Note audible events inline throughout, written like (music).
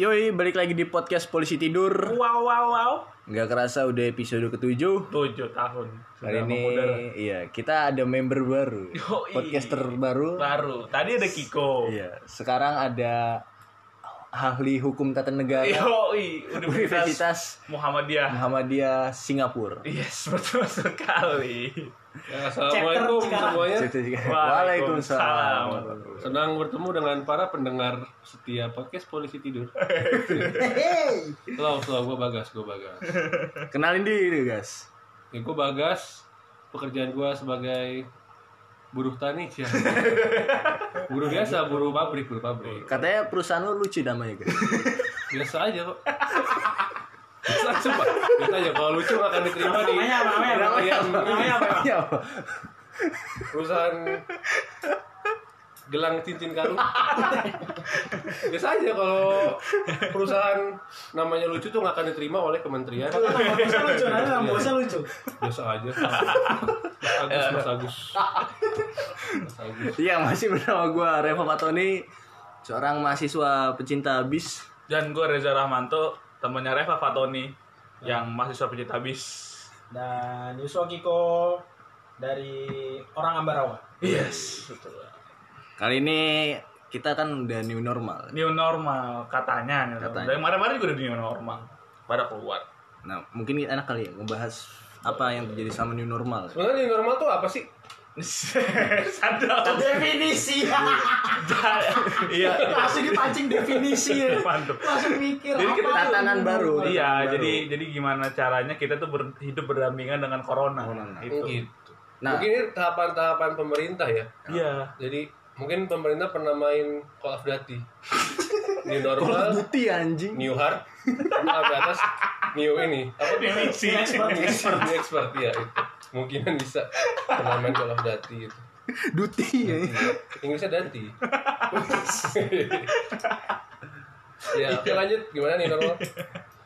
Yoi, balik lagi di podcast Polisi Tidur. Wow wow wow. Nggak kerasa udah episode ketujuh. Tujuh tahun. Hari ini, mengudara. iya, kita ada member baru. Yoi. Podcaster baru. Baru. Tadi ada Kiko. Iya, sekarang ada ahli hukum tata negara Yoi. Universitas Universitas Muhammadiyah. Muhammadiyah Singapura. Yes, (laughs) betul sekali. Ya, Assalamualaikum Chapter semuanya. Waalaikumsalam. Senang bertemu dengan para pendengar setia podcast Polisi Tidur. Slow, slow, gue Bagas, gue Bagas. Kenalin diri, guys. Ya, gue Bagas, pekerjaan gue sebagai buruh tani. ya. buruh biasa, buruh pabrik, buruh pabrik. Katanya perusahaan lu lucu namanya, (laughs) guys. Biasa aja kok. Biasa aja, Pak. Biasa aja, kalau lucu nggak akan diterima di Namanya apa? Namanya apa? yang Namanya apa? Iya, apa? perusahaan gelang cincin karung biasa aja kalau perusahaan namanya lucu tuh nggak akan diterima oleh kementerian Iya. Bosnya lucu, nanti sama bosnya lucu. biasa aja Mas Agus Mas Agus Mas Agus Iya, masih bersama gua Reva Patoni, seorang mahasiswa pencinta bis. Dan gue Reza Rahmanto, temannya Reva Fatoni yang mahasiswa pencinta bis. Dan Yusuf Kiko dari orang Ambarawa. Yes. Kali ini kita kan udah new normal. New normal katanya. New normal. Katanya. Dari kemarin-kemarin juga udah new normal. Pada keluar. Nah, mungkin enak kali ya ngebahas apa yang terjadi sama new normal. sebenarnya yang normal tuh apa sih Sadar. Definisi. Iya. Langsung dipancing definisi ya. Mantep. Langsung mikir Jadi kita apa tuh? tatanan baru. Iya, Baru. jadi jadi gimana caranya kita tuh ber- hidup berdampingan dengan corona. Corona. Itu. gitu Nah, mungkin ini tahapan-tahapan pemerintah ya Iya. jadi mungkin pemerintah pernah main Call of Duty new normal bukti ya, anjing. new hard (laughs) apa di atas new ini apa Definisi. Ini expert ini expert ya itu mungkinan bisa turnamen Call of Duty gitu Duti ya. Inggrisnya (laughs) Danti ya oke lanjut gimana nih (laughs) normal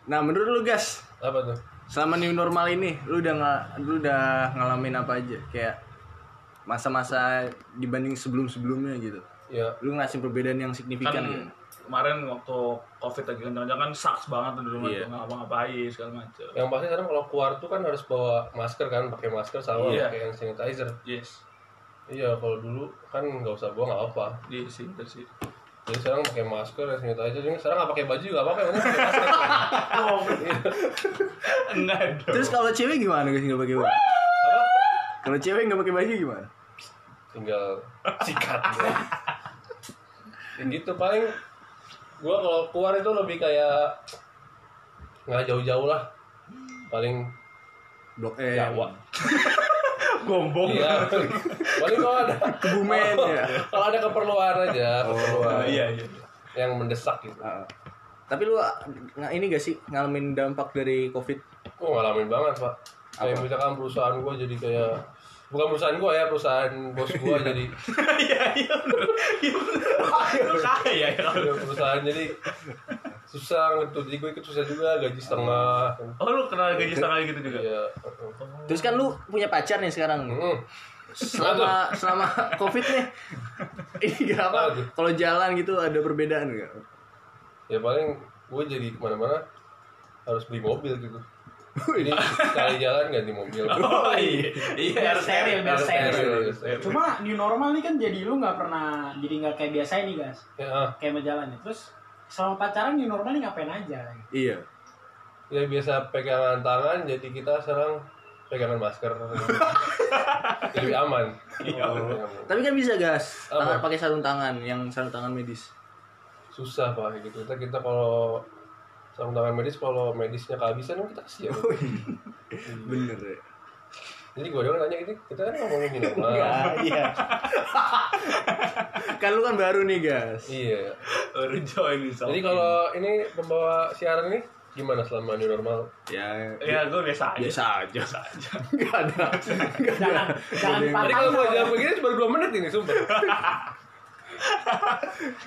Nah, menurut lu guys, apa tuh selama new normal ini lu udah nggak lu udah ngalamin apa aja? Kayak masa-masa dibanding sebelum-sebelumnya gitu. ya Lu ngerasain perbedaan yang signifikan kan gitu. kemarin waktu covid lagi kencang kan sucks banget tuh di rumah Iya. tuh ngapa ngapain segala macam yang pasti sekarang kalau keluar tuh kan harus bawa masker kan pakai masker sama Iya. pakai hand sanitizer yes iya kalau dulu kan nggak usah bawa nggak apa di sini terus sih jadi sekarang pakai masker hand sanitizer jadi sekarang nggak pakai baju nggak apa-apa yang penting pakai masker (laughs) enggak dong Terus kalau cewek gimana guys nggak pakai baju? apa Kalau cewek nggak pakai baju gimana? tinggal sikat ya. Ya gitu paling gua kalau keluar itu lebih kayak nggak jauh-jauh lah paling Blok eh, M, Jawa gombong iya paling kalau ada (laughs) Kebumen ya. kalau ada keperluan aja keperluan iya iya yang mendesak gitu Heeh. Tapi lu nah, ini gak sih ngalamin dampak dari covid? gua ngalamin banget pak kayak misalkan perusahaan gua jadi kayak bukan perusahaan gua ya perusahaan bos gua jadi iya iya lu kaya ya kalau- perusahaan jadi susah gitu jadi gue ikut susah juga gaji setengah kan. oh lu kenal gaji setengah gitu juga iya Terus kan lu punya pacar nih sekarang. Mm. Selama selama (laughs) covid nih, ini gak apa? Aduh. Kalau jalan gitu ada perbedaan nggak? ya paling gue jadi kemana-mana harus beli mobil gitu jadi sekali jalan ganti mobil oh iya iya Biar steril, biar steril. Serius, serius. Cuma new normal nih kan jadi lu nggak pernah jadi nggak kayak biasa nih guys, ya, ah. kayak berjalan ya. Terus selama pacaran new normal nih ngapain aja? Iya. ya biasa pegangan tangan jadi kita sekarang pegangan masker lebih aman Tapi kan bisa gas. Tangan Apa? pakai sarung tangan, yang sarung tangan medis. susah pak gitu kita kita kalau sarung tangan medis kalau medisnya kehabisan kan kita kasihan Bener ya. jadi gue doang nanya gitu kita kan ngomongin minum Nggak, iya. (laughs) kan lu kan baru nih gas. iya baru join di jadi kalau ini pembawa siaran ini gimana selama new normal Ya. ya gue biasa aja Biasa aja. (laughs) Gak ada. Gak ada. Jangan jangan Gede. Tadi patah. kalau gua jawab begini cuma 2 menit ini sumpah.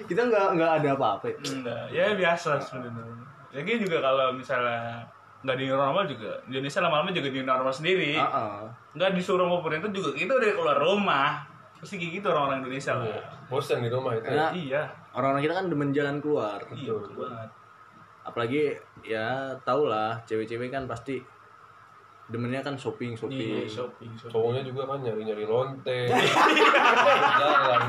Kita nggak nggak ada apa-apa. ya. enggak ya biasa sebenarnya lagi juga kalau misalnya nggak di new normal juga Indonesia lama-lama juga di new normal sendiri Heeh. nggak disuruh mau perintah juga kita udah keluar rumah pasti kayak gitu orang-orang Indonesia lah Bosan di rumah itu. Karena iya orang-orang kita kan demen jalan keluar. iya betul banget apalagi ya tau lah cewek-cewek kan pasti demennya kan shopping shopping Iya, shopping, shopping. cowoknya juga kan nyari nyari (laughs) lonte jalan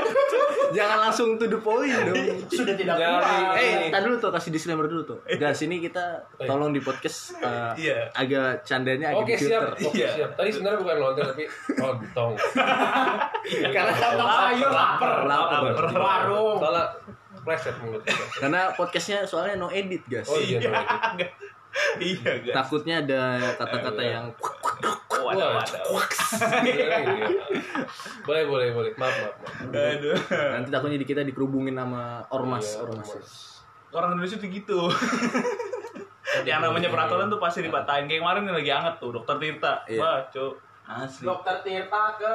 (laughs) jangan langsung to the point dong Sudah tidak Dari- kurang. Eh, tar dulu tuh kasih disclaimer dulu tuh. Dan sini kita tolong di podcast eh, Iya. agak candanya agak oke di (laughs) siap filter. oke Iya. siap tadi sebenarnya bukan lonte tapi lontong Karena Iya. sayur lapar. Lapar. Warung. soalnya pleset mulut Karena podcastnya soalnya no edit, guys. oh iya iya. Enggak. (laughs) Iya, enggak. Takutnya ada kata-kata yang Nah, Waduh, waduh. Iya. boleh boleh boleh maaf maaf, maaf. Aduh. nanti takutnya di kita dikerubungin sama ormas, Iya, ormas. Orang Indonesia tuh (laughs) gitu. yang namanya peraturan tuh pasti dipatahin. Kayak kemarin yang lagi anget tuh, Dokter Tirta. Iya. Wah, cuk. Asli. Dokter Tirta ke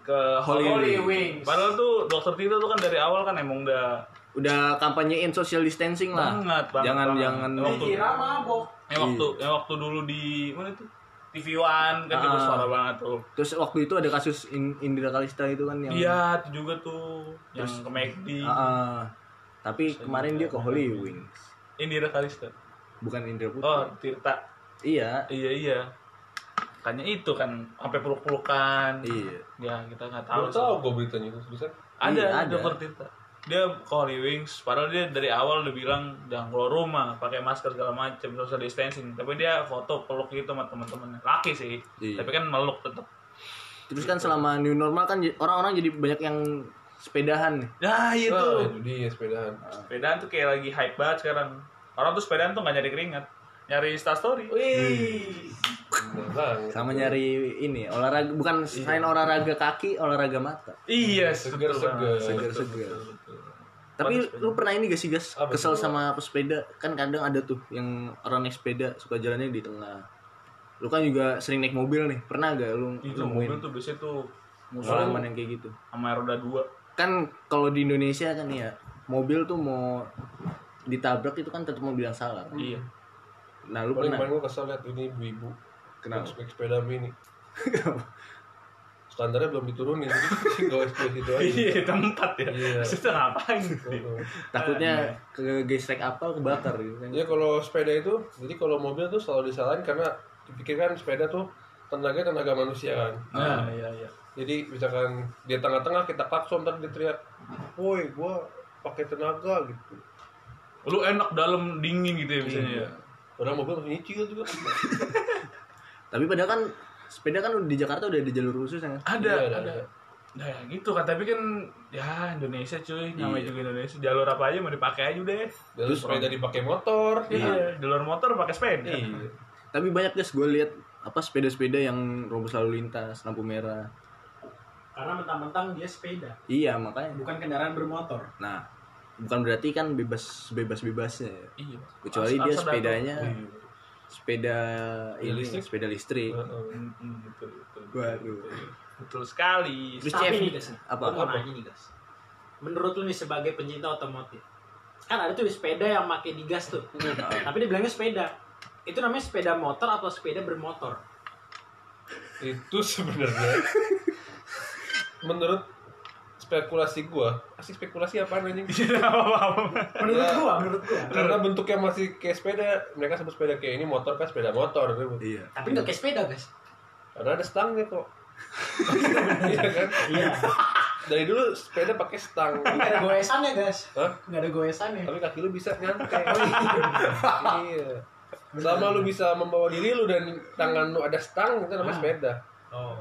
Ke Holy Holy Wings. Wings. Padahal tuh Dokter Tirta tuh kan dari awal kan emang udah Udah kampanyein social distancing lah. Banget, banget, jangan banget. jangan Emang tuh- Dikira mabok. Iya. yang waktu yang waktu dulu di mana tuh? TV One kan juga Ah. suara banget tuh. terus waktu itu ada kasus In- Indra Kalista itu kan yang Iya, itu juga tuh yang ke McD. Ah, ah. tapi kemarin dia ke Holy Wings, Indira Kalista. bukan Indra Putri. Oh, Tirta. Iya, Iya, iya. Makanya itu kan sampai peluk-pelukan. iya. Ya, kita nggak tahu. Baru tahu gue beritanya itu seriusan Ada, Iya, ada. ada dokter Tirta. Dia ke Holy Wings, padahal dia dari awal udah bilang jangan keluar rumah, pakai masker segala macam, social distancing. Tapi dia foto peluk gitu sama teman-temannya. Laki sih, Iya. tapi kan meluk tetap. Terus kan selama new normal kan j- orang-orang jadi banyak yang sepedahan nih. Nah, itu. Nah, itu dia sepedaan Sepedaan tuh kayak lagi hype banget sekarang. Orang tuh sepedaan tuh nggak nyari keringat, nyari instastory. Wih. Bener banget. sama nyari ini olahraga bukan selain olahraga kaki olahraga mata Iya, seger betul banget. seger seger-seger tapi lu pernah ini gak sih guys Apa kesel tuh? sama pesepeda kan kadang ada tuh yang orang naik sepeda suka jalannya di tengah lu kan juga sering naik mobil nih pernah gak lu Itu nemuin mobil tuh biasanya tuh pengalaman yang kayak gitu sama roda dua. kan kalau di Indonesia kan ya mobil tuh mau ditabrak itu kan tetap mobil yang salah kan? Iya. nah lu paling pernah paling gue kesel liat ini ibu-ibu Kenapa? (laughs) naik sepeda mini standarnya belum diturunin (laughs) jadi gak ekspres itu aja (laughs) Iya, tempat ya. Iya. Terus tuh ngapain sih? Nah. takutnya ke gesek apel kebakar gitu kan ya kalau sepeda itu jadi kalau mobil tuh selalu disalahin karena dipikirkan sepeda tuh tenaga tenaga manusia kan Nah, iya iya. jadi misalkan dia tengah-tengah kita klakson ntar dia teriak woi gua pakai tenaga gitu Lu enak dalam dingin gitu ya biasanya. ya? padahal mobil masih nyicil juga Tapi padahal kan sepeda kan di Jakarta udah ada jalur khusus ya kan? yang Ada, Iya, ada, ada. ada. Nah ya gitu kan, tapi kan ya Indonesia cuy, namanya juga Indonesia. Jalur apa aja mau dipakai aja deh. dan sepeda dipakai motor Iya, jalur motor pakai sepeda. iya Tapi banyak guys gue lihat apa sepeda-sepeda yang robos lalu lintas, lampu merah. Karena mentang-mentang dia sepeda, Iya, makanya. bukan kendaraan bermotor. Nah, bukan berarti kan bebas bebas-bebasnya. ya. Iya. Kecuali As- dia asal Iya. datang. sepedanya sepeda ini, listrik? sepeda listrik. Heeh. Mm, betul, betul. Waduh. Betul sekali. Terus Tapi CFD. nih guys, Apa? gua mau nanya nih guys. Menurut lu nih sebagai pencinta otomotif, kan ada tuh sepeda yang pakai digas tuh. Tapi dia bilangnya sepeda. Itu namanya sepeda motor atau sepeda bermotor? itu sebenarnya menurut spekulasi gua asik spekulasi apaan anjing Tidak (laughs) apa-apa. Menurut gua, menurut gua. karena bentuknya masih kayak sepeda mereka sebut sepeda kayak ini motor kan sepeda motor gitu. Iya. Tapi nggak kayak sepeda guys. karena ada stangnya kok iya kan Iya. dari dulu sepeda pakai stang (laughs) Nggak ada goesannya guys. Hah? Nggak ada goesannya. tapi kaki lu bisa nyantai iya selama lu bisa membawa diri lu dan tangan lu ada stang itu namanya sepeda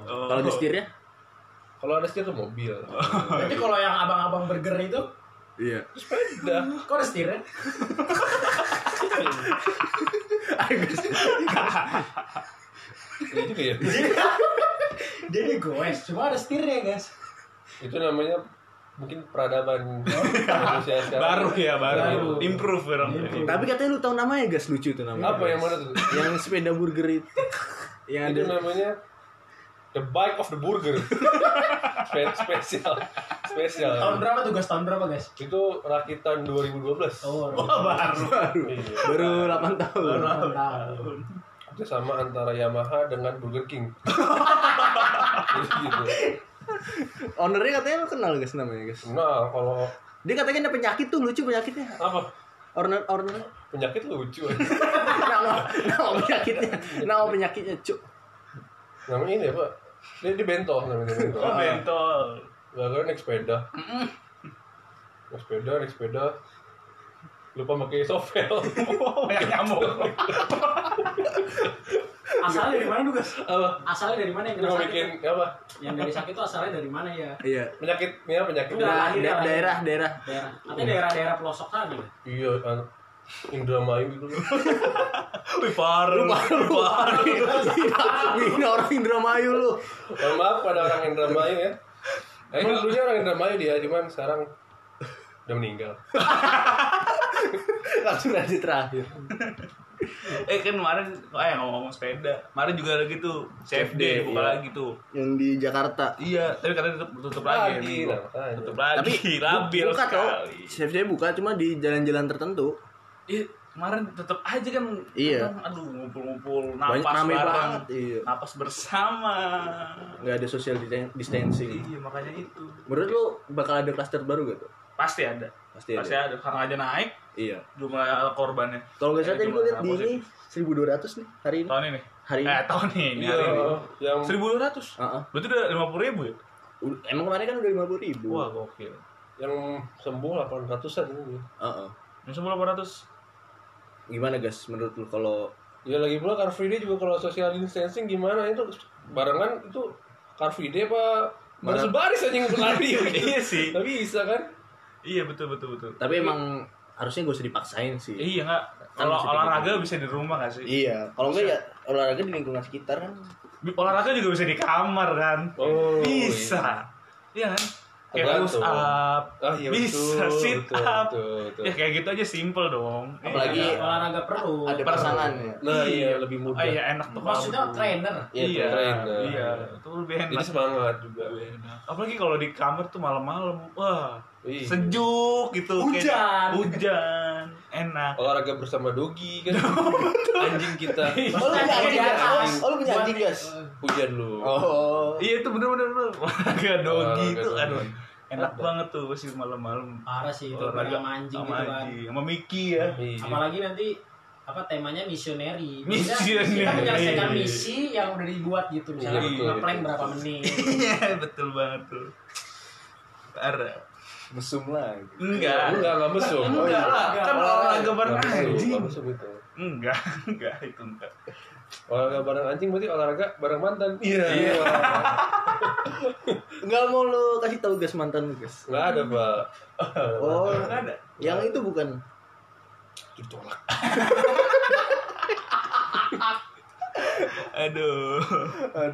Kalau di setirnya? kalau ada setir tuh mobil Tapi kalau yang abang-abang burger itu, Iya. sepeda kok ada setirnya? Iya juga ya Jadi goes, cuma ada setirnya guys. itu namanya mungkin peradaban manusia sekarang baru ya baru, Baru. improve orang Tapi katanya lu tahu namanya guys lucu tuh namanya. apa yang mana tuh Yang sepeda burger itu. yang Ya, itu ada namanya the bike of the burger (laughs) Spe- spesial spesial Tahun berapa tuh guys? Tahun berapa guys? itu rakitan 2012 Oh, baru Iya. baru 8 tahun. tahun. tahun. kerjasama antara Yamaha dengan Burger King Jadi gitu Ownernya katanya lu kenal guys namanya guys. nah kalau Dia katanya ada penyakit tuh lucu penyakitnya. apa Orner orner. Penyakit (laughs) lucu. Nama nama penyakitnya. Nama penyakitnya cuk. Namanya ini apa? Dia di bentol namanya bentol. Oh, bentol. Gara-gara naik sepeda. Naik sepeda, naik sepeda. Lupa pakai sovel. Banyak (laughs) nyamuk. Asalnya dari mana Dugas? Apa? Asalnya dari mana yang kena Mau sakit? bikin apa? Yang dari sakit itu asalnya dari mana ya? Iya. Penyakit, ya penyakit. Daerah da- daerah daerah. Daerah. Atau daerah-daerah pelosok sana. ya? Iya, an- Indramayu gitu. Wih, paru. Paru. (laughs) Ini orang Indramayu lu. Mohon maaf pada orang Indramayu ya. Emang dulunya orang Indramayu dia, cuman sekarang udah meninggal. Langsung aja terakhir. Eh kan kemarin eh ngomong-ngomong sepeda. Kemarin juga lagi tuh CFD CFD, buka iya. lagi tuh. Yang di Jakarta. Iya, tapi katanya tutup, tutup lagi. Lagi, minggu. nah, makanya. tutup lagi. Tapi (laughs) labil buka tau. sekali. Chefnya buka cuma di jalan-jalan tertentu. Iya, kemarin tetap aja kan. Iya. orang, Aduh, ngumpul-ngumpul Banyak napas rame bareng. banget. Iya. Napas bersama. Nggak ada social disten- distancing. Iya, makanya itu. Menurut lu bakal ada cluster baru gak tuh? Pasti ada. Pasti ada. Pasti ada. Karena aja naik Iya. jumlah korbannya. Kalau nggak salah Eh, tadi gue jumlah lihat di ini 1200 nih hari ini. Tahun ini. Hari ini. Eh, tahun ini. Iya, yang Seribu dua ratus. Heeh. Berarti udah lima puluh ribu ya? U- Emang kemarin kan udah 50 ribu. Wah, gokil. yang sembuh 800-an ini. Heeh. Yang sebelum delapan ratus. Gimana guys menurut lu kalau Ya lagi pula Car Free Day juga kalau social distancing gimana itu barengan itu Car Free Day apa Barang- bersebaris anjing (laughs) berlari gitu. Iya sih. Tapi bisa kan? Iya betul betul betul. tapi emang harusnya gak usah dipaksain sih. Iya nggak. Kan Kalau bisa olahraga bisa di rumah nggak sih? Iya, kalau enggak ya olahraga di lingkungan sekitar kan. Olahraga juga bisa di kamar kan? Oh, bisa. Iya kan? Kayak push Tergantung. up, Oh, Ah, iya, bisa betul, sit betul, up. betul, betul. Ya kayak gitu aja simple dong. Iya. Apalagi Olahraga perlu. ada pasangan ya. Nah, iya lebih mudah. Oh iya enak tuh. Maksudnya kalau- trainer. Iya, Iya, trainer. iya. Itu lebih Jadi enak. semangat juga. Lebih enak. Apalagi kalau di kamar tuh malam-malam, wah Iya. sejuk gitu. Hujan. Kayak- hujan, enak. Olahraga bersama Dogi (laughs) kan. anjing kita. Oh, lu punya anjing Iya. guys. Oh, lu punya anjing guys. Hujan lu. Oh. Iya itu bener-bener bener. (laughs) olahraga Oh, dogi Olahraga itu dogi. aduh enak banget tuh pasti malam-malam. Parah sih Iya, itu Olahraga sama anjing sama gitu kan. anjing. sama Miki ya. (laughs) Iya. Apalagi nanti apa temanya (laughs) misioneri. Bisa Misioneri. Kita menyelesaikan misi yang udah dibuat gitu misalnya Iya, betul. ngeprank berapa (laughs) menit. Iya betul banget tuh. Parah. Mesum lagi. Lu Enggak. Iya, enggak enggak mesum. Oh, iya. Enggak lah, kan olahraga bareng Enggak mesum, anjing. enggak mesum itu. Enggak, (laughs) enggak itu enggak. Olahraga bareng anjing berarti olahraga bareng mantan. Iya. Enggak mau lu kasih tahu guys mantan lu guys. Enggak ada, Pak. Oh, Ada. yang itu bukan. Ditolak. Aduh.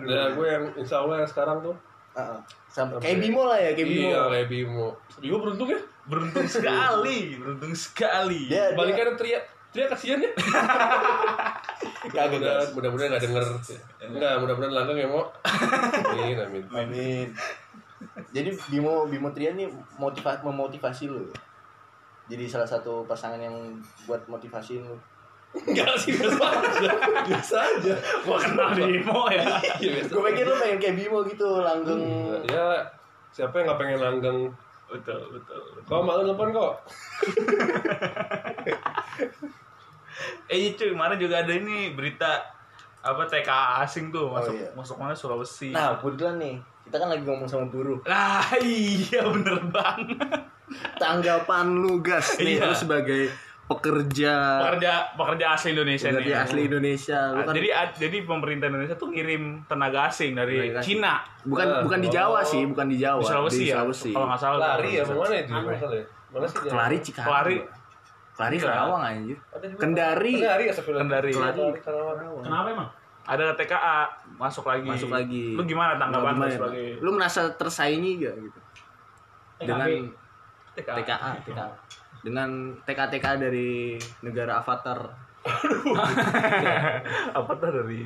Nah, gue yang insya Allah yang sekarang tuh Heeh. Sama kayak Bimo lah ya, kayak Bimo. Iya, kayak Bimo. Bimo beruntung ya. (laughs) Beruntung sekali, beruntung sekali. Dia dia- Balikan teriak. Teriak kasihan ya. Kagak guys. Mudah- Mudah-mudahan nggak denger. Enggak, mudah-mudahan langgeng ya, Mo. Amin, amin. Amin. Jadi Bimo Bimo Trian nih motiva memotivasi lu. ya? Jadi salah satu pasangan yang buat motivasi lu. Enggak sih, (laughs) biasa aja. Biasa aja. Gua kenal Bimo ya. Iya, biasa. Gue pikir lu pengen kayak Bimo gitu, langgeng. Ya, siapa yang nggak pengen langgeng? betul, betul. betul. Kau malu nelfon kok? Eh iya, cuy, kemarin juga ada ini berita apa TKA asing tuh Oh, masuk iya. masuk mana Sulawesi. Nah, kebetulan nih, kita kan lagi ngomong sama buruh. Lah, iya bener banget. Tanggapan lu, Gas, nih Iya. lu sebagai pekerja Pekerja pekerja asli Indonesia nih. Nah. pekerja asli Indonesia, lu Ah, kan Jadi ad- jadi pemerintah Indonesia tuh ngirim tenaga asing dari Tenaga asing. Cina. bukan Eh, bukan di Jawa oh. sih, bukan di Jawa, Di Sulawesi di ya. Sulawesi. Kalau nggak salah. Lari ya, mana itu? Masalah ya? Mana sih? Kelari Cikarang. Kelari. Kelari Enggak. Karawang anjir. Ada juga. Kendari. Kendari ya, sebelum Kendari. Kendari, Karawang. Kenapa emang? Ada TKA masuk lagi. Masuk lagi. Lu gimana tanggapan lu Gimana, sebagai Lu merasa tersaingi gak gitu? TKB. Dengan TKA? TKA, TKA. Dengan TKTK dari negara Avatar. apa tuh dari?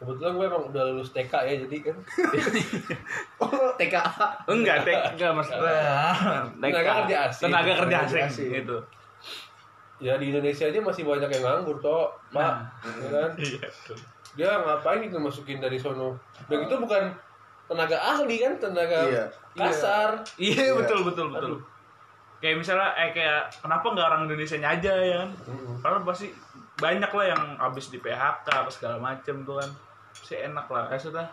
Kebetulan gue emang udah lulus TK ya, jadi kan Oh, TKA. Enggak, TKA enggak maksud Tenaga kerja asing. Tenaga kerja Tenaga asing, kerja asing. gitu. ya di Indonesia aja masih banyak yang nganggur toh pak ya kan Iya. dia ngapain gitu masukin dari sono dan itu bukan tenaga ahli kan tenaga Iya. kasar Iya, betul betul betul. kayak misalnya eh kayak kenapa nggak orang Indonesia aja ya kan padahal pasti banyak lah yang habis di PHK apa segala macem tuh kan sih enak lah eh sudah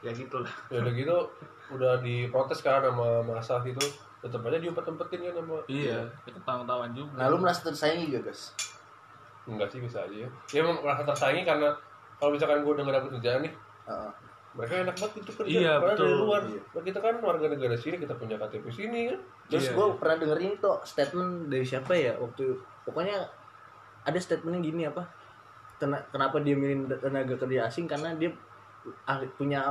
ya gitulah ya udah gitu udah diprotes kan sama masa gitu tetap aja diumpet-umpetin kan sama iya itu tanggung tawan juga Nah, lu merasa tersaingi gak, guys? enggak sih bisa aja ya ya emang merasa tersaingi karena kalau misalkan gue udah gak dapet kerjaan nih Heeh. mereka enak banget itu kerja Iya, padahal dari betul. luar Iya. Nah, kita kan warga negara sini kita punya KTP sini kan Terus Iya. gue pernah dengerin tuh statement dari siapa ya waktu pokoknya ada statementnya gini apa "Kena- kenapa dia milih tenaga kerja asing karena dia ahli- punya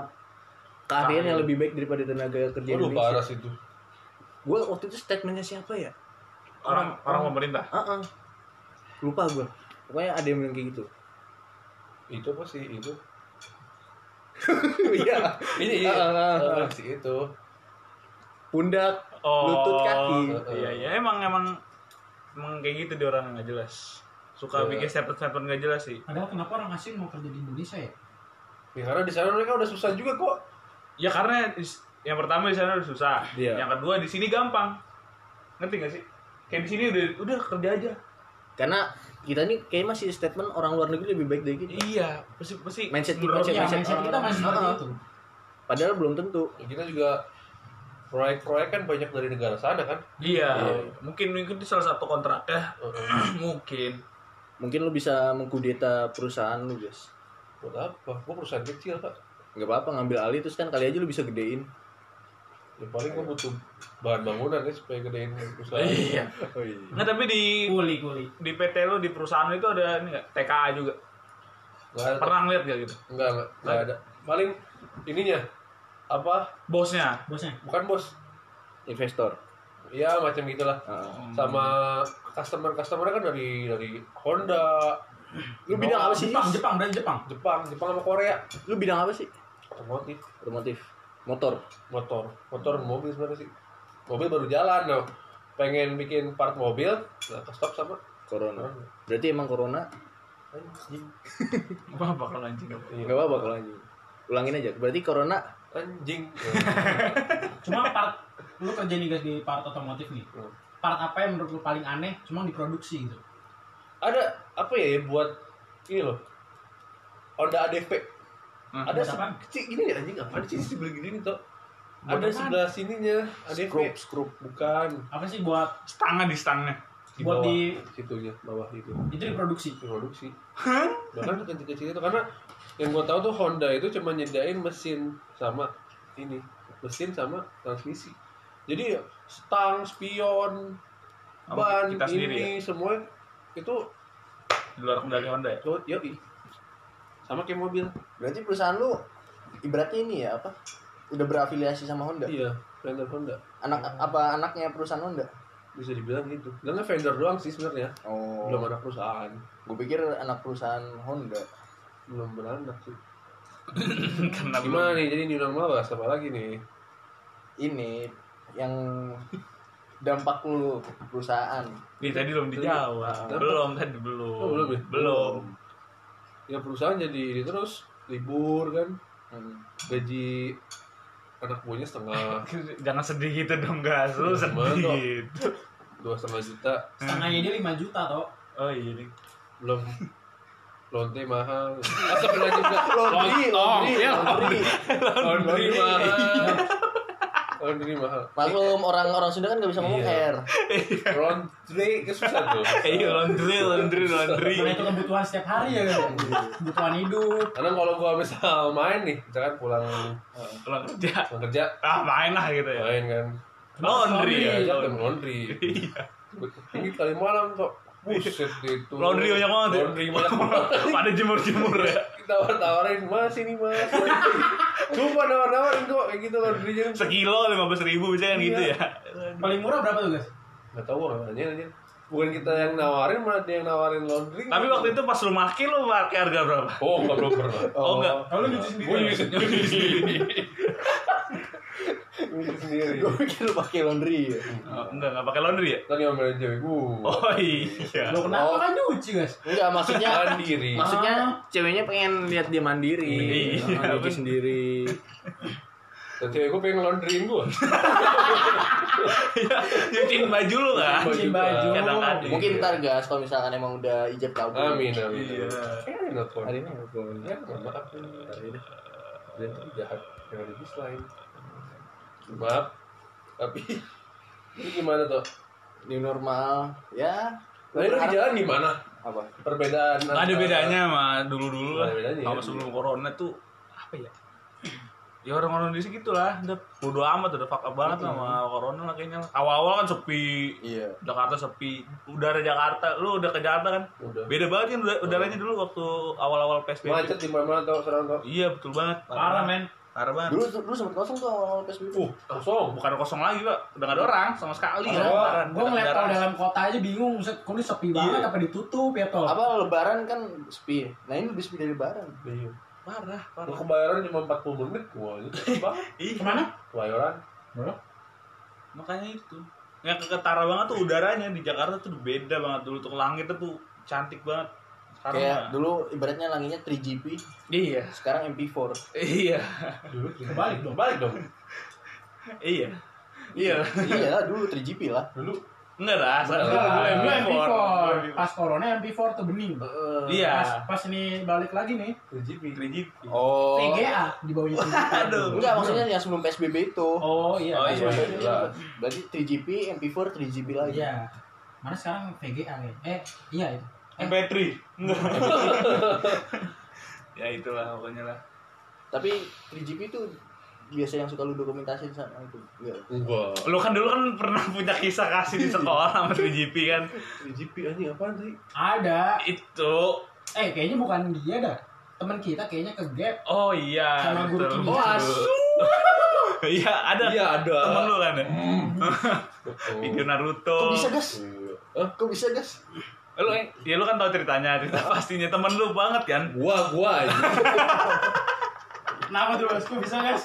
keahlian yang lebih baik daripada tenaga kerja Waduh Indonesia. parah sih itu Gue waktu itu statementnya siapa ya? orang orang pemerintah Ah, ah. lupa gue. Pokoknya ada yang bilang kayak gitu. itu apa sih itu (laughs) Iya. ini Ah, ah, ah, ah. sih itu Pundak, lutut, kaki. iya iya emang emang emang kayak gitu dia orang nggak jelas suka Iya. bikin statement-statement nggak jelas sih Padahal kenapa orang asing mau kerja di Indonesia ya? ya, karena di sana mereka udah susah juga kok ya karena is- yang pertama di sana udah susah Iya. yang kedua di sini gampang ngerti gak sih kayak di sini udah udah kerja aja Karena kita nih kayak masih statement orang luar negeri lebih baik dari kita. iya pasti pasti Mindset- menurut mindset- mindset orang- Iya, mindset kita masih Heeh. seperti itu. Padahal belum tentu. Ya, kita juga proyek-proyek kan banyak dari negara sana kan iya Iya. mungkin mungkin itu salah satu kontraknya (clears throat) Heeh. mungkin Mungkin lu bisa mengkudeta perusahaan lu, guys. buat apa gua perusahaan kecil pak nggak apa-apa ngambil alih terus kan kali aja lu bisa (laughs) gedein ya paling gua butuh bahan bangunan ya supaya gedein usaha iya Oh, nggak tapi di Kuli kuli. di PT lo di perusahaan itu ada ini nggak TKA juga nggak ada pernah ngeliat gak gitu nggak nggak, nggak ada paling ininya apa bosnya Bosnya. bukan bos investor ya macam gitulah Heeh. sama customer customer kan dari dari Honda lu bidang apa sih Oh, Jepang, Jis? Jepang dari Jepang. Jepang Jepang sama Korea lu bidang apa sih otomotif otomotif motor motor motor mobil sebenarnya sih mobil baru jalan loh pengen bikin part mobil nah ke stop sama corona berarti emang corona anjing Iya. apa apa kalau anjing apa? nggak apa-apa kalau anjing ulangin aja berarti corona anjing (laughs) (laughs) Cuma part lu kerja nih guys di part otomotif nih. Hmm. Part apa yang menurut lu paling aneh cuma diproduksi gitu? ada apa ya yang buat ini loh Honda ADV Hmm, ada buat apaan? kecil gini ya anjing apa sih sebelah gini nih toh ada Buat apaan? sebelah sininya ADV skrup skrup bukan Apa sih buat stangnya di stangnya di buat bawah di situnya bawah itu itu diproduksi? produksi bahkan kecil-kecil itu karena yang gue tahu tuh Honda itu cuma nyediain mesin sama ini mesin sama transmisi jadi stang spion Sama ban kita sendiri ya? ini semua itu di luar kendali Honda ya (laughs) tuh yoi sama kayak mobil berarti perusahaan lu ibaratnya ini ya apa udah berafiliasi sama Ya. Honda iya vendor Honda anak apa anaknya perusahaan Honda bisa dibilang gitu karena vendor doang sih sebenarnya oh belum ada perusahaan gue pikir anak perusahaan Honda belum beranak sih karena belum gimana nih jadi new normal bahas apa lagi nih ini yang dampak lu ke perusahaan Ih, tadi belum dijawab. Kenapa? Belum tadi belum. Oh, belum ya? Belum. ya perusahaan jadi terus libur kan Hmm. gaji anak buahnya setengah (laughs) Jangan sedih gitu dong, guys. Lu Iya, Gimana dong? sedih. gitu. dua setengah juta Hmm. Setengahnya dia 5 juta toh. Oh iya. nih. belum lonte mahal masa pernah juga Laundry, oh, laundry, iya. Iya, laundry. laundry mahal laundry mahal Maklum orang-orang Sunda kan nggak bisa ngomong R. Iya. laundry kesusahan tuh Eh, iya, laundry, (laughs) laundry, laundry. Karena itu kebutuhan setiap hari ya kan. Kebutuhan hidup. karena kalau gua misal main nih misalkan pulang uh, Pulang kerja. pulang kerja Ah, main lah gitu ya. main kan Laundry Iya. ya. kerja laundry. jam laundry ini kali malam kok buset itu Laundry banyak banget ya? laundry banyak banget Pada jemur-jemur ya. (laughs) ditawar-tawarin mas ini mas (laughs) cuma nawar-nawarin kok kayak gitu kan belinya Sekilo lima belas ribu misalnya Iya. gitu ya. Paling murah berapa tuh guys? nggak tahu orang nanya aja bukan kita yang nawarin malah dia yang nawarin laundry Tapi waktu itu pas lu maki lu pakai harga berapa? oh nggak belum pernah (laughs) Oh, enggak. Kalau lu nyuci sendiri. gue nyuci sendiri nyuci sendiri Gue pikir lu pakai laundry. ya. Oh, enggak, enggak pakai laundry ya? tadi ngomelin cewek gue Oh (laughs) iya. Lo kenapa kan nyuci guys? Enggak maksudnya mandiri maksudnya ceweknya pengen lihat dia mandiri, Iya. mandiri sendiri. Nah, (laughs) dan cewek gue pengen laundryin gue Nyuciin baju lu kan? Cuci baju. Kadang kadang. Mungkin ntar gas kalau misalkan emang udah ijab kabul. Iya. Amin, amin. Iya. Eh, not for. Hari ini aku Ya, mohon maaf. Dan itu jahat. Jangan di dislike. Maaf. Tapi ini gimana tuh? new normal ya. Nah, itu di berharap- jalan gimana? apa? Perbedaan. Nggak ada antara- bedanya sama dulu-dulu lah. Nggak ada bedanya, Sama iya. sebelum corona tuh apa ya? Ya orang-orang di situ lah, udah bodo amat udah fuck up banget sama corona lah kayaknya. lah. Awal-awal kan sepi, Iya. Jakarta sepi, udara Jakarta, lu udah ke Jakarta kan? Udah. Beda banget kan uda- udaranya dulu waktu awal-awal PSBB. Macet di mana-mana tau sekarang tau. Iya betul banget. Parah men. Parah banget. Dulu dulu sempat kosong tuh awal-awal PSBB. Uh, kosong. Bukan kosong lagi pak, udah nggak ada orang sama sekali. Oh, Lebaran, nggak ada Gue ngeliat kalau kendaraan. dalam kota aja bingung, set kok ini sepi banget apa ditutup ya tol? Apa lebaran kan sepi. Nah, ini lebih sepi dari lebaran. Iya. Parah, Gua parah. kebayaran cuma 40 menit gua aja. Bang, Ih, Kemana? kebayaran. makanya itu. Yang ketara banget tuh udaranya di Jakarta tuh beda banget dulu tuh langitnya tuh cantik banget. Sekarang Kayak mah- dulu ibaratnya langitnya 3GP, Iya, sekarang MP4. iya, Dulu balik dong, balik dong. iya, iya. iya lah, dulu 3GP lah. Dulu Enggak lah, sekarang Enggak lah, udah Dulu MP4. mulai Pas corona MP4 tuh bening. Iya. Pas, pas ini balik lagi nih, 3GP. 3GP. Oh. TGA di bawahnya sini. Aduh. Enggak, maksudnya yang sebelum PSBB itu. Oh iya. Oh, pas iya. masuk. Lah. Berarti 3GP, MP4, 3GP lagi. Iya. Mana sekarang VGA ya? Eh, iya itu. MP3. Enggak. (laughs) ya itulah pokoknya lah. Tapi 3GP itu biasa yang suka lu dokumentasi sama itu. Iya. Enggak. Lu kan dulu kan pernah punya kisah kasih di sekolah sama 3GP kan. 3GP anjing apaan sih? Ada. Itu. Eh, kayaknya bukan dia dah. Teman kita kayaknya ke Gap. Oh iya. Sama guru betul. kimia. Oh, asu. (laughs) Iya, ada. Iya, ada. Temen lu kan ya? Oh. (laughs) Video Naruto. Kok bisa, Gas? Iya. Hah? Kok bisa, Gas? Lu eh, ya lu kan tau ceritanya, cerita pastinya temen lu banget kan. (laughs) Gua gua anjing. Kenapa tuh, Mas? Kok bisa, Guys?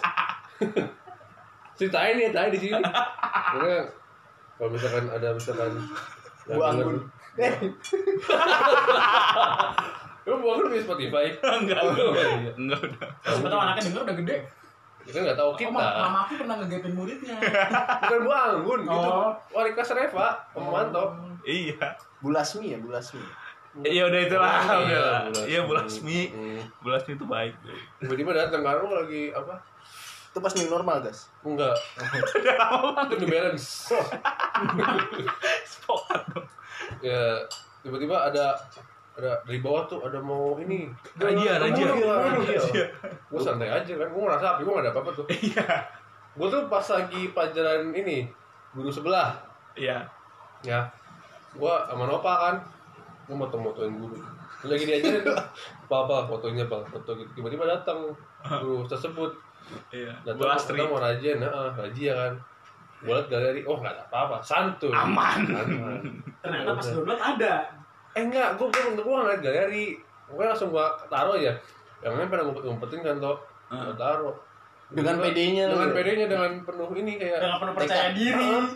ceritain ya tadi di sini karena kalau misalkan ada misalkan Gua anggun. Eh, lu gua anggun di Spotify Enggak. Oh, udah. iya. Enggak udah. Siapa tahu anaknya denger udah gede. kita nggak tahu Oh, kita ma- mama aku pernah ngegapin muridnya. bukan gua anggun gitu Oh. wali kelas Reva pemanto Iya. Bulasmi ya, Bulasmi. Ya udah itulah. Udah lah. Iya, Bulasmi. Bulasmi. Bulasmi itu baik. tiba-tiba datang karena lu lagi apa Itu pas new normal, Gas. enggak Udah lama banget. itu di balance Spokat dong. (laughs) ya tiba-tiba ada ada dari bawah tuh ada mau ini Rajia, rajia. Rajia. gue santai aja kan gue ngerasa api gue gak ada apa-apa tuh Iya. gue tuh pas lagi pelajaran ini guru sebelah Iya. ya gua sama Nova kan gua moto-motoin guru lagi diajarin tuh papa fotonya bang foto gitu tiba-tiba datang guru tersebut Iya. datang Bulastri. kita mau rajin nah, rajia kan gua liat galeri oh nggak ada apa-apa santuy Aman. Aman. Ternyata pas download ada. eh enggak gua gua gua ngeliat galeri gua langsung gua taruh ya yang lain pada ngumpet-ngumpetin kan toh gua taruh Dengan Tiba-tiba- PD-nya lu dengan ya? PD-nya dengan penuh ini kayak Udah gak perlu percaya diri. Heeh.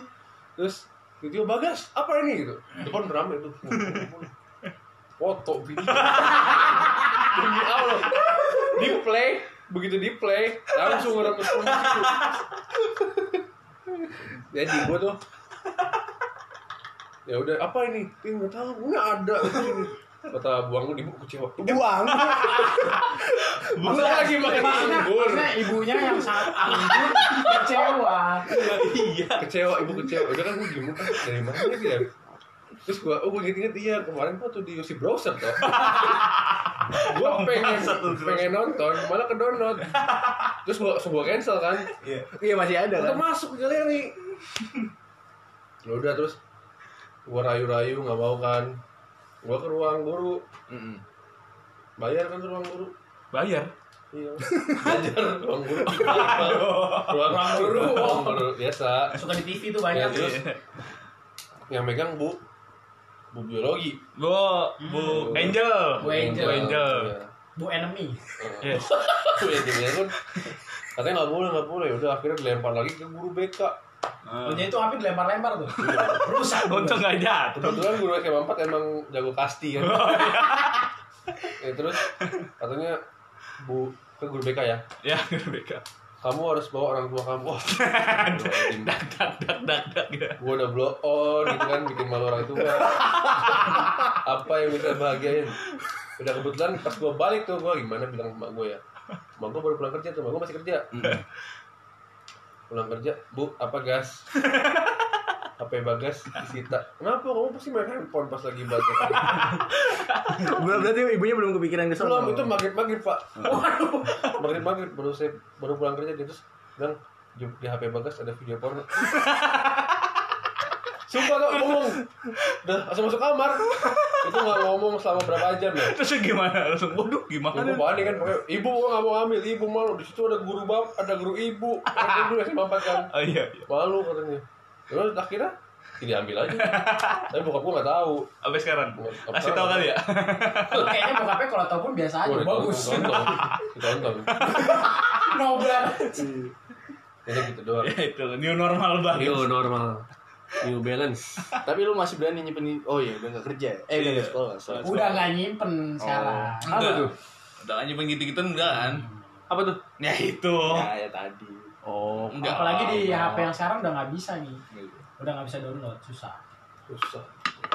terus tiba bagas apa ini gitu depan rame tuh foto video demi allah di play begitu di play langsung ngerempes gitu jadi gua tuh ya udah apa ini ini nggak tahu nggak ada kata buang gua dibuka kecewa Buang. bukan lagi makan Maksudnya, anggur maksudnya ibunya yang sangat anggun kecewa. Iya. kecewa ibu kecewa udah kan gue gimana dari mana sih ya terus gue oh gue inget-inget iya kemarin gua tuh di UC browser (laughs) toh gue pengen Masa tuh browser? pengen nonton malah ke download terus gue gue cancel kan Iya. Iya, masih ada tetap kan. masuk galeri ya udah terus gue rayu-rayu nggak mau kan gue ke ruang guru Mm-mm. bayar kan ke ruang guru Bayar. (laughs) iya belajar ruang (laughs) guru ruang guru ruang guru biasa Suka di TV tuh ya banyak. terus (laughs) yang megang bu bu biologi Gua Bu Angel. Bu Angel. Bu Angel. Ya. Iya. Bu enemy. Iya. Yes. Bu Angelnya kan katanya nggak boleh nggak boleh udah akhirnya dilempar lagi ke guru BK Punya itu api dilempar-lempar tuh. Rusak. Untung gak jatuh. kebetulan guru SMA 4 emang jago kasti kan (laughs) ya terus katanya bu ke guru BK ya Ya, Rebecca. kamu harus bawa orang tua kamu (laughs) wah dak (laughs) dak dak dak dak gitu. gue udah blow on gitu kan bikin malu orang tua apa yang bisa bahagiain udah kebetulan pas gue balik tuh gue gimana bilang sama gue ya Mak gue baru pulang kerja tuh, mak gue masih kerja Pulang kerja, bu, apa gas? HP bagas disita Kenapa? Kamu pasti main handphone pas lagi belajar berarti ibunya belum kepikiran ke sana. Mm. Belum, itu maghrib-maghrib pak Maghrib-maghrib, baru saya baru pulang kerja dia terus bilang di, di HP bagas ada video porno Sumpah lo ngomong Udah langsung masuk kamar Itu gak ngomong selama berapa jam ya Terus gimana? Langsung waduh Ya gue gimana? panik kan, pokoknya ibu gue gak mau ambil, ibu malu Di situ ada guru bab, ada guru ibu Ada guru SMA 4 kan Oh iya, iya. Malu katanya Terus akhirnya tidak ambil aja Tapi bokap gue gak tau Sampai sekarang. Nggak Kasih tahu. tahu kali ya. (laughs) Kayaknya bokapnya kalau tau pun biasa aja. Bagus. Ah, Ditonton Ditonton Nobel. Jadi gitu doang Ya itu new normal banget. Yo normal. New balance. Tapi lu masih berani nyimpen Oh iya, udah enggak kerja. ya? Eh, udah Iya. nggak sekolah. sekolah. Udah nggak nyimpen sekarang. Apa tuh? Udah aja gitu-gitu enggak kan? Apa tuh? Ya itu. Ya, ya tadi. Oh, Enggak. Apalagi di HP yang sekarang udah nggak bisa nih. Udah nggak bisa download, susah. Susah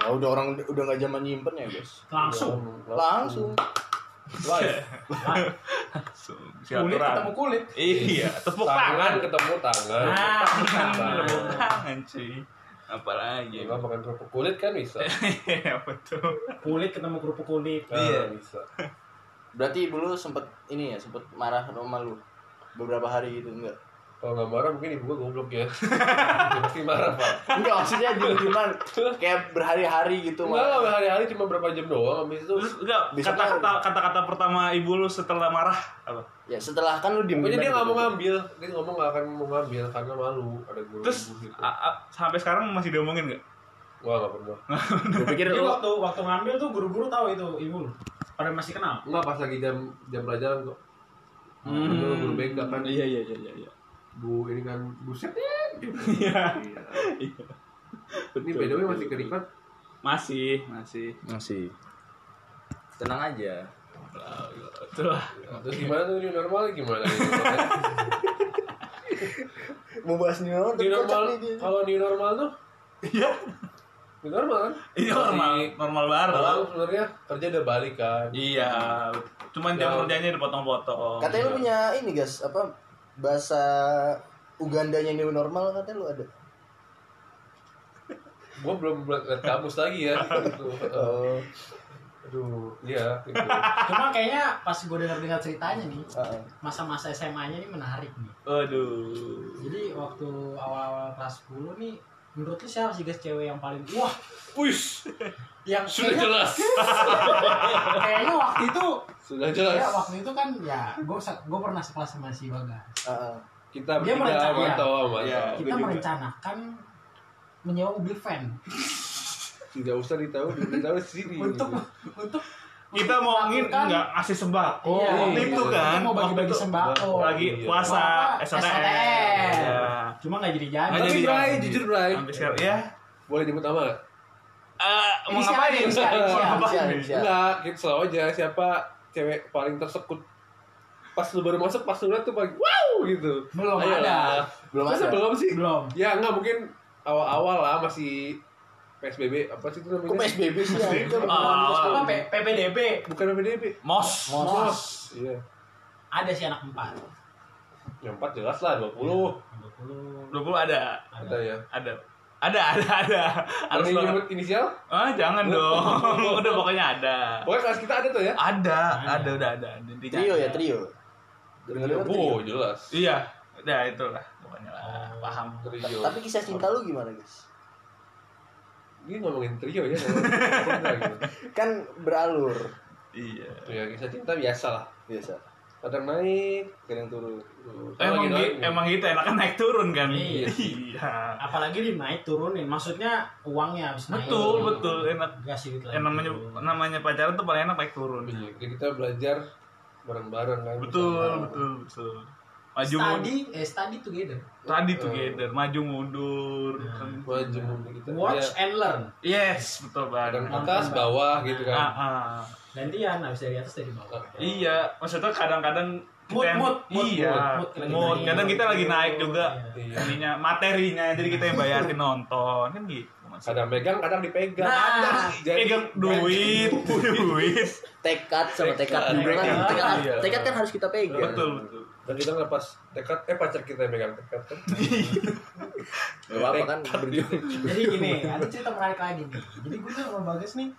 Ya udah orang udah nggak zaman nyimpen ya, guys. Langsung. Langsung. Live Langsung Kulit ketemu silaturahmi. kulit. (laughs) Iya, tepuk Tangan tangan. ketemu tangan Nah, susah. Tepuk tangan cuy. Apalagi. Gimana makan Iya, kerupuk kulit kan bisa (laughs) Apa tuh? Kulit ketemu kerupuk kulit. Nah, Iya. bisa Berarti ibu lu sempet ini ya, sempet marah sama lu beberapa hari gitu enggak? Kalau gak marah mungkin ibu gue goblok (laughs) ya Dia Pasti marah pak Enggak maksudnya diem-dieman kayak berhari-hari gitu Enggak malah. lah, hari-hari cuma berapa jam doang Habis itu Terus enggak Bisa kata-kata kata-kata pertama ibu lu setelah marah apa? Ya setelah kan lu diem. Pokoknya dia nggak mau ngambil, dia ngomong nggak akan mau ngambil karena malu ada guru Terus ibu gitu. a- a- sampai sekarang masih diomongin enggak? Gua nggak pernah. Gue pikir Jadi lu waktu waktu ngambil tuh guru-guru tahu itu ibu lu. Pada masih kenal. Enggak pas lagi jam jam pelajaran kok. Hmm. Guru guru BK kan. Iya iya iya iya. Bu ini kan buset. Iya. Ini by the way masih kerikat. Masih, masih. masih tenang aja. Itulah. Terus gimana tuh new normal (laughs) gimana? Mau bahas new normal, Oh, new tapi normal cocok nih dia. kalau new normal tuh Iya. new normal kan. Ini normal, normal baru. Orang sebenarnya kerja udah balik kan. Iya. Cuman jam kerjanya dipotong-potong. Katanya lu punya ini guys, apa bahasa Ugandanya new normal katanya lu ada. Gua belum lihat kamus lagi ya. Gitu. Oh. Aduh, iya. gitu. Cuma kayaknya pas gue denger-dengar ceritanya nih, Heeh. masa-masa SMA-nya ini menarik nih. Aduh. Jadi waktu awal-awal kelas 10 nih, menurut lu siapa sih guys cewek yang paling wah Wis, yang sudah kayaknya, jelas. (laughs) kayaknya waktu itu Sudah ya jelas. waktu itu kan ya gue gue pernah sekelas sama si Bagas Heeh. Kita Dia bertiga merencanakan. mantau, Iya. mantau. kita juga. merencanakan menyewa mobil van Tidak usah ditahu, ditahu sini. untuk untuk Iya, Kita mau angin enggak ngasih sembako kan? Iya. waktu itu Kita kan. mau Waktu bagi-bagi itu sembako lagi Iya. puasa Apa? SOTM. SOTM. Iya. cuma nggak jadi jadi Nggak Tapi jadi. Bray, jujur Bray. Sampai sekarang ya. Boleh nyebut nama nggak? Eh, mau Inisial, ngapain? inisial, Mau inisial. ngapain? Inisial. Iya. Siap. Enggak, kita selalu aja siapa cewek paling tersekut pas lu baru masuk pas lu liat tuh paling wow gitu Belum ada. Belum Masa ada. belum sih belum ya enggak mungkin awal-awal lah masih PSBB apa sih itu namanya Kok PSBB sih? ya? Kita belum Awal-awal. ada. apa P- PPDB bukan PSBB Mos. Mos. iya ada si anak empat yang Ya, empat jelas lah 20 20 ada. ada ya Ada. Ada, ada, ada. Harus harus banget. nyebut inisial Ah, jangan dong. (laughs) Udah pokoknya ada. pokoknya kelas kita ada tuh ya Ada, ada, udah ada. Iya, Intinya Trio ya, ada. trio. Dengar-dengar oh jelas Iya. Udah itulah pokoknya lah. Paham. trio Tapi kisah cinta lu gimana guys? ini ngomongin trio ya ngomongin cinta gitu. Kan beralur Iya. ya kisah cinta biasa lah biasa. kadang naik Kadang turun. Eh, Emang, Lagi gi- naik. emang gitu enaknya naik turun kan? Iya. (laughs) Iya. apalagi dia naik turunin maksudnya uangnya harus naik Betul, betul. Enak. gak sih gitu. Eh, namanya namanya pacaran tuh paling enak naik turun. Iya, jadi kita belajar bareng-bareng kan. Betul, bersama. betul, betul. Maju mundur. study eh study together Tadi tuh together, maju mundur. kan. Maju mundur kita. watch Ya, and learn Yes, betul kadang banget. atas, bawah gitu Ah, kan. ah. gantian habis dari atas dari bawah Iya, maksudnya kadang-kadang Mood, kita yang- mood, mood, iya, mood, mood. mood. Kadang kita lagi naik juga Iya. ininya materinya, jadi kita yang bayarin nonton kan gitu. Mas. Kadang megang, kadang dipegang. Nah, Jadi- Pegang duit, duit. tekad sama tekad Tekad. juga kan Tekad. tekad, Iya. tekad kan harus kita pegang betul betul. Dan kita ngelepas tekad, eh pacar kita yang megang tekad (laughs) kan. Gak apa-apa kan berjuang jadi gini ada cerita menarik lagi nih jadi gue tuh sama bagas nih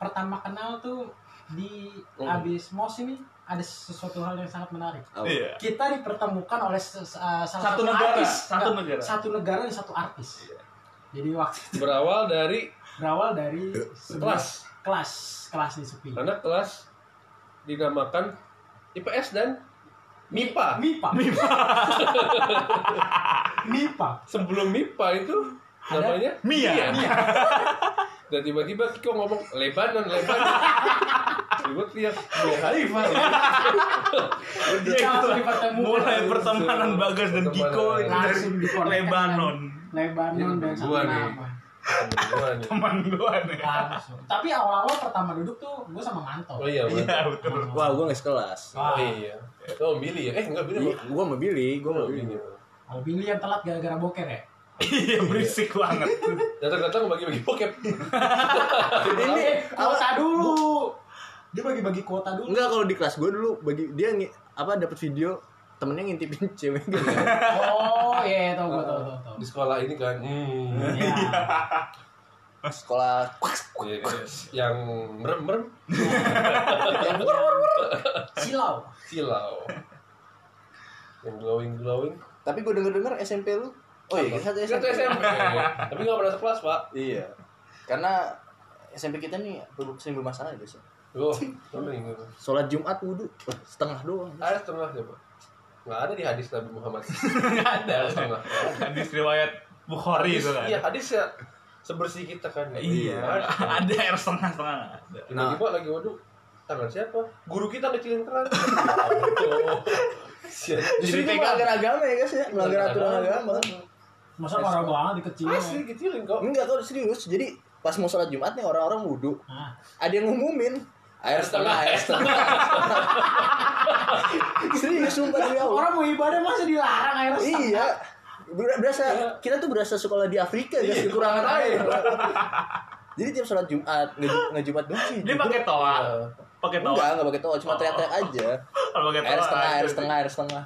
pertama kenal tuh di abis mos ini ada sesuatu hal yang sangat menarik Oh. Iya. kita dipertemukan oleh se- se- uh, salah Satu satu, negara, artis satu Nggak, negara. satu negara dan satu artis jadi waktu itu Berawal dari berawal dari sebuah Eh, Kelas. kelas kelas nih sepi anak kelas dinamakan IPS dan MIPA. mipa (laughs) mipa mipa Sebelum MIPA itu namanya Mia. (laughs) Dan tiba-tiba Kiko ngomong Lebanon, (laughs) Lebanon. Gue teriak, "Mia Khalifa." Iya, langsung itu. dipertemukan. Mulai pertemanan Bagas dan Kiko itu Langsung dari dikonekkan. Lebanon. Lebanon dan satu Gua nih. nama Gua nih. Teman gua nih. langsung tapi awal-awal pertama duduk tuh gue sama manto Oh iya, Iya, bener. betul. wah gue nggak sekelas Oh Wah, iya. Oh, Billy ya? Eh, enggak Billy. Ih, gue mau Billy gue Iya. mau Billy kalau Billy yang telat gara-gara boker ya Iya, berisik banget. Datang-datang bagi-bagi bokep. ini Eh, kuota dulu dia bagi-bagi kuota dulu enggak kalau di kelas gue dulu bagi dia ngi- apa dapat video temennya ngintipin (laughs) cewek gitu oh iya tau gue tau tau (laughs) tau Di sekolah ini kan. Hmm. Iya. sekolah Iya, iya. Yang merem-merem (laughs) yang silau silau. Yang glowing-glowing. tapi gue denger denger SMP lu oh iya kita satu SMP Kita tuh SMP. Tapi enggak pernah sekelas, Pak. iya karena SMP kita nih ber- sering bermasalah ya guys ya. Duh, sering. (laughs) sholat Jumat wudhu wah, setengah doang Ada setengah coba. Enggak ada di hadis Nabi (laughs) Muhammad. Enggak ada. Ada setengah. Hadis Kan riwayat Bukhari itu kan. Iya, hadis ya sebersih kita kan. Iya. Ada air setengah-setengah. Tiba-tiba Nah. lagi waduh tangan siapa? Guru kita kecilin keran. (laughs) justru itu melanggar agama ya guys ya melanggar aturan agama masa parah banget dikecilin ya? Asli kecilin kok. enggak kok serius jadi pas mau sholat Jumat nih orang-orang wudhu Nah, ada yang ngumumin air setengah air setengah serius sumpah demi Allah orang mau ibadah masa dilarang air setengah? iya Ber- berasa kita tuh berasa sekolah di Afrika Iya, guys iya, kekurangan air jadi tiap sholat Jumat nggak Ju- nggak Jumat doang sih Dia pakai toa. Pakai enggak toa. enggak pakai toa cuma teriak-teriak aja Kalau pakai toa. air setengah air aja. setengah air setengah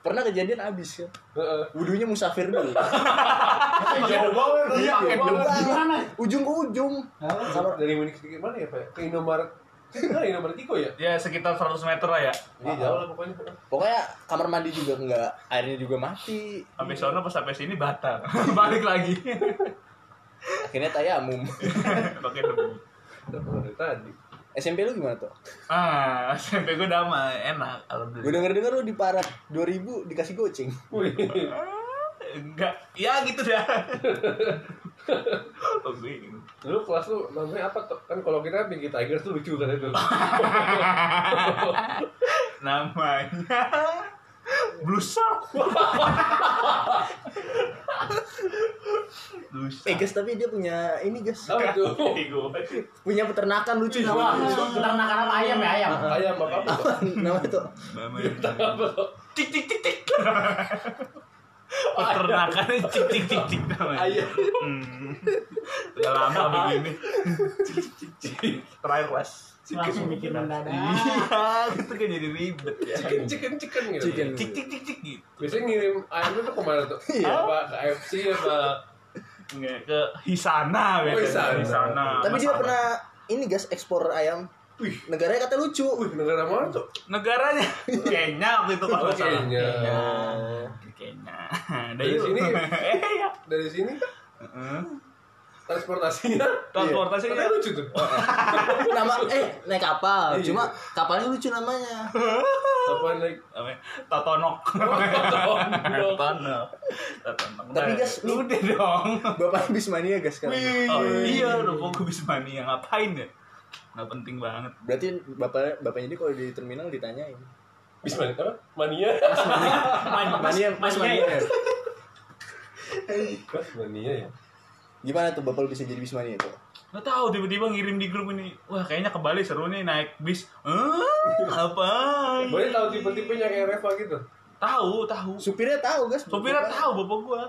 pernah kejadian abis ya Heeh. wudhunya musafir dulu Jauh banget. Iya, Jauh jauh banget. banget. gimana ujung ke ujung Kalau dari Winix sedikit mana ya, Pak? Ke Indomaret. Nah, Indomaret Tiko ya? Ya sekitar 100 meter lah ya. Iya, jauh lah pokoknya. pokoknya kamar mandi juga enggak airnya juga mati Sampai sana pas sampai sini batal. (laughs) Balik lagi. akhirnya (laughs) tayamum Pakai debu. Udah dari tadi. SMP lu gimana tuh Ah, (laughs) SMP gue damai, enak Gue alhamdulillah. denger denger lu di parat 2000 dikasih goceng. Wih. Ah, Enggak, ya gitu (laughs) dah. Oh, bingung. Dulu kelas lu namanya apa tuh? Kan kalau kita Pinky Tiger tuh lucu kan itu. Namanya Blue Shark. (laughs) Blue Eh Shark. guys tapi dia punya ini guys Apa tuh? Ego. punya peternakan lucu Wah, namanya. peternakan apa ayam ya ayam Ayam apa apa? tuh? namanya tuh Namanya cik cik cik cik. Peternakannya cik cik cik cik namanya. Ayam. Hmm. Udah lama begini. Terakhir kelas. langsung mikir mendadak Iya, itu kan jadi ribet ya. Chicken chicken chicken Iya. gitu. Chicken. Cik cik cik cik gitu. Biasanya ngirim ayamnya tuh kemana tuh? Apa ke AFC apa? Nggak, Ke Hisana Oh, Hisana. Tapi dia Masalah. pernah ini guys ekspor ayam. Wih. Negaranya kata lucu. Wih, negara mana tuh? negaranya Kenya waktu itu kalau nggak salah. Kayaknya. Kenya. Oh, Dari sini. (laughs) Eh, iya. Dari sini kan Heeh. transportasinya Transportasinya Oh. Katanya lucu tuh. Nama eh naik kapal. Iya. Cuma kapalnya lucu namanya. Apa naik? Apa ya? Totonok. Oh, Totonok. Totonok. Totonok. Tapi Nah, guys, ini- udah dong. Bapak Bismania guys kan. Oh iya, lupa gue bisa mania ngapain ya? Nggak penting banget. Berarti bapak bapaknya dia kalau di terminal ditanyain. Bismania apa? Mania. Mania, Mas Mania. ya? Mania ya. Gimana tuh bapak lu bisa jadi Bismania itu? Gak tahu tiba-tiba ngirim di grup ini. Wah, kayaknya ke Bali seru nih naik bis. Eh, apa? Boleh tahu tipe-tipenya kayak Reva gitu. Tahu, tahu. Supirnya tahu, guys. Sopirnya Bapak- tahu bapak gua.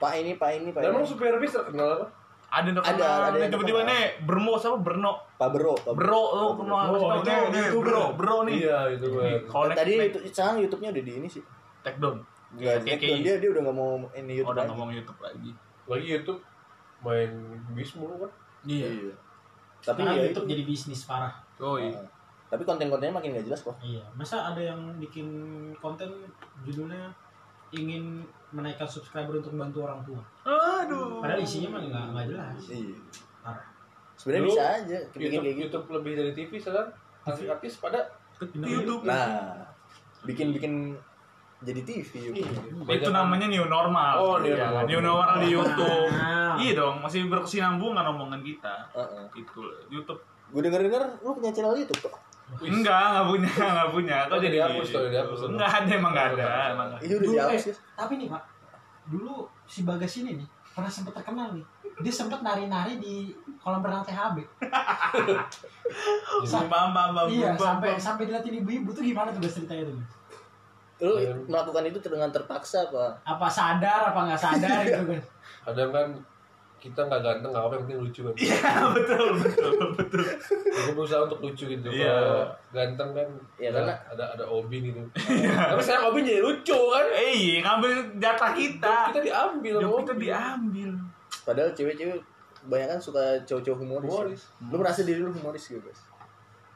Pak ini, Pak ini, Pak ini. Dan emang supir bis terkenal apa? Ada yang Ada, terkenal, ada yang tiba-tiba terkenal. nih Bermo sama Berno. Pak Bro, Pak Bro. Bro, lu kenal Oh, oh, itu itu YouTuber. bro, bro nih. Iya, itu gue. Kalau Eh, Tadi tadi YouTube, sekarang YouTube-nya udah di ini sih. take down. Nggak, Iya, kayak- dia- dia dia udah nggak mau ini Oh, YouTube udah lagi. ngomong YouTube lagi. Lagi YouTube main bis mulu kan. Iya. Iya. Tapi Sekarang ya itu. YouTube jadi bisnis parah. Oh, iya. Heeh. Tapi konten-kontennya makin nggak jelas kok. Iya. Masa ada yang bikin konten judulnya ingin menaikkan subscriber untuk bantu orang tua. Aduh. Padahal isinya mah nggak nggak jelas. Iya. Parah. Sebenarnya Dulu, bisa aja bikin YouTube, kayak gitu. YouTube lebih dari TV sekarang. Artis-artis pada Itu YouTube. Nah, bikin-bikin jadi gitu. TV. Itu namanya new normal. Oh, new Iya, normal. New normal di YouTube. Nah. Iya dong, masih berkesinambungan omongan kita. Heeh. Itu YouTube. Gue denger-denger lu punya channel YouTube kok. Enggak, enggak punya, (laughs) enggak punya. Kok Oh, jadi dihapus tuh, gitu? dihapus. Enggak ada, emang enggak ada, emang enggak ada. Itu udah Dulu, dihapus, eh, guys. tapi nih pak, dulu si Bagas ini nih pernah sempat terkenal nih. Dia sempat nari-nari di kolam renang (laughs) THB. Paham, paham, paham, paham, iya, paham, sampai paham. sampai dilatih ibu-ibu tuh gimana tuh guys ceritanya tuh? Guys? Lu melakukan itu dengan terpaksa, Pak. Apa sadar apa nggak (laughs) sadar gitu guys? kadang kan kita nggak ganteng nggak apa yang penting lucu kan. Iya, (laughs) betul, betul, betul. Aku berusaha untuk lucu gitu. Iya. Kalau ganteng kan Iya, ada, karena- ada ada Obin gitu. Iya. Tapi sekarang Obin jadi lucu kan. Eh, iya, ngambil jatah kita. Kita diambil sama Job kita Obin. diambil. Padahal cewek-cewek kebanyakan suka cowok-cowok humoris. Humoris. Lu merasa diri lu humoris gitu, guys.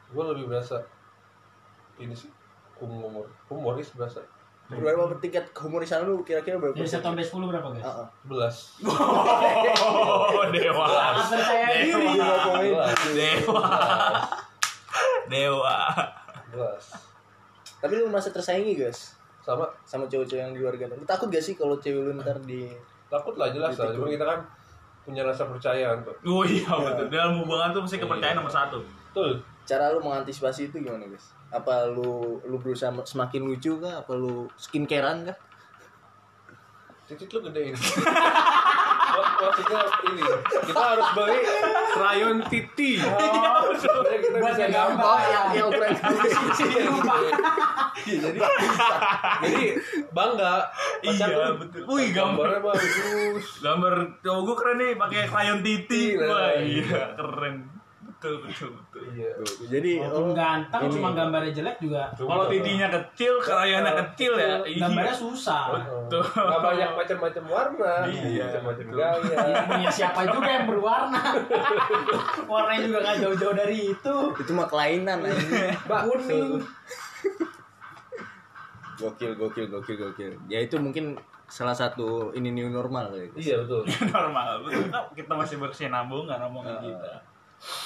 Gue lebih berasa ini sih humor humoris berasa Berapa tingkat humorisan lu kira-kira berapa? Dari satu sampai sepuluh berapa guys? Uh-uh. Heeh. sebelas. Oh, dewa. Sangat percaya Iya, diri. Sebelas. (laughs) Dewa. Dewa. Sebelas. Tapi lu merasa tersaingi, guys. Sama Sama cowok-cowok yang di luar ganteng. Lu takut gak sih kalau cewek lu ntar di takut lah jelas lah. Gitu. Cuma kita kan punya rasa percaya kan. Pak. Oh iya, betul. Dalam hubungan tuh mesti kepercayaan nomor satu. Betul. cara lu mengantisipasi itu gimana, guys? Apa lu lu berusaha semakin lucu kah? Apa lu skincarean kah? Titik lu gedein. (laughs) Mak- Maksudnya ini, kita harus beli rayon titi. Oh. Biar kita Buat bisa ngegambar. gambar. Oh, yang yang (laughs) ukuran iya, Jadi, jadi bangga. Pacar Iya, lu, betul. Wih, gambar. Gambarnya bagus. Gambar cowok gue keren nih, pakai krayon titi. Iya. Wah, iya, keren. Betul, betul, betul. Iya. Jadi oh, Walaupun ganteng Ini. cuma gambarnya jelek juga. Kalau titinya kecil, kerayonnya kecil ya. Iya. (laughs) Gambarnya susah. Tuh. Gak banyak macam-macam warna, Iya. macam-macam gaya. Punya siapa juga yang berwarna. (laughs) Warnanya juga nggak jauh-jauh dari itu. itu mah kelainan anjing. Mbak, Kuning. gokil gokil gokil gokil ya itu mungkin salah satu ini new normal kali ya, guys. Iya betul. normal betul. kita masih bersinambungan omongan kita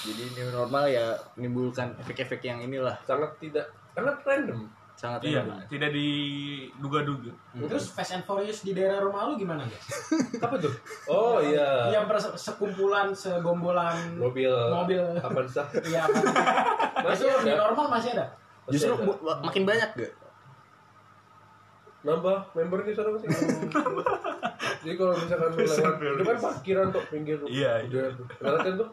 jadi new normal ya menimbulkan efek-efek yang inilah Sangat tidak, sangat random. sangat iya enak. tidak diduga-duga Hmm. Terus Fast and Furious di daerah rumah lu gimana guys? (laughs) Apa tuh? Oh iya. Yang perse- sekumpulan, segombolan Mobil. Mobil. Kapan sah? Iya. apa- Masih Masih di ada. normal masih ada. justru Masih ada. bu- bu- makin banyak gak nambah member di sana masih jadi kalau misalkan lu Bisa lewat beli. itu kan parkiran tuh pinggir lu Iya, iya. udah ngeliatin tuh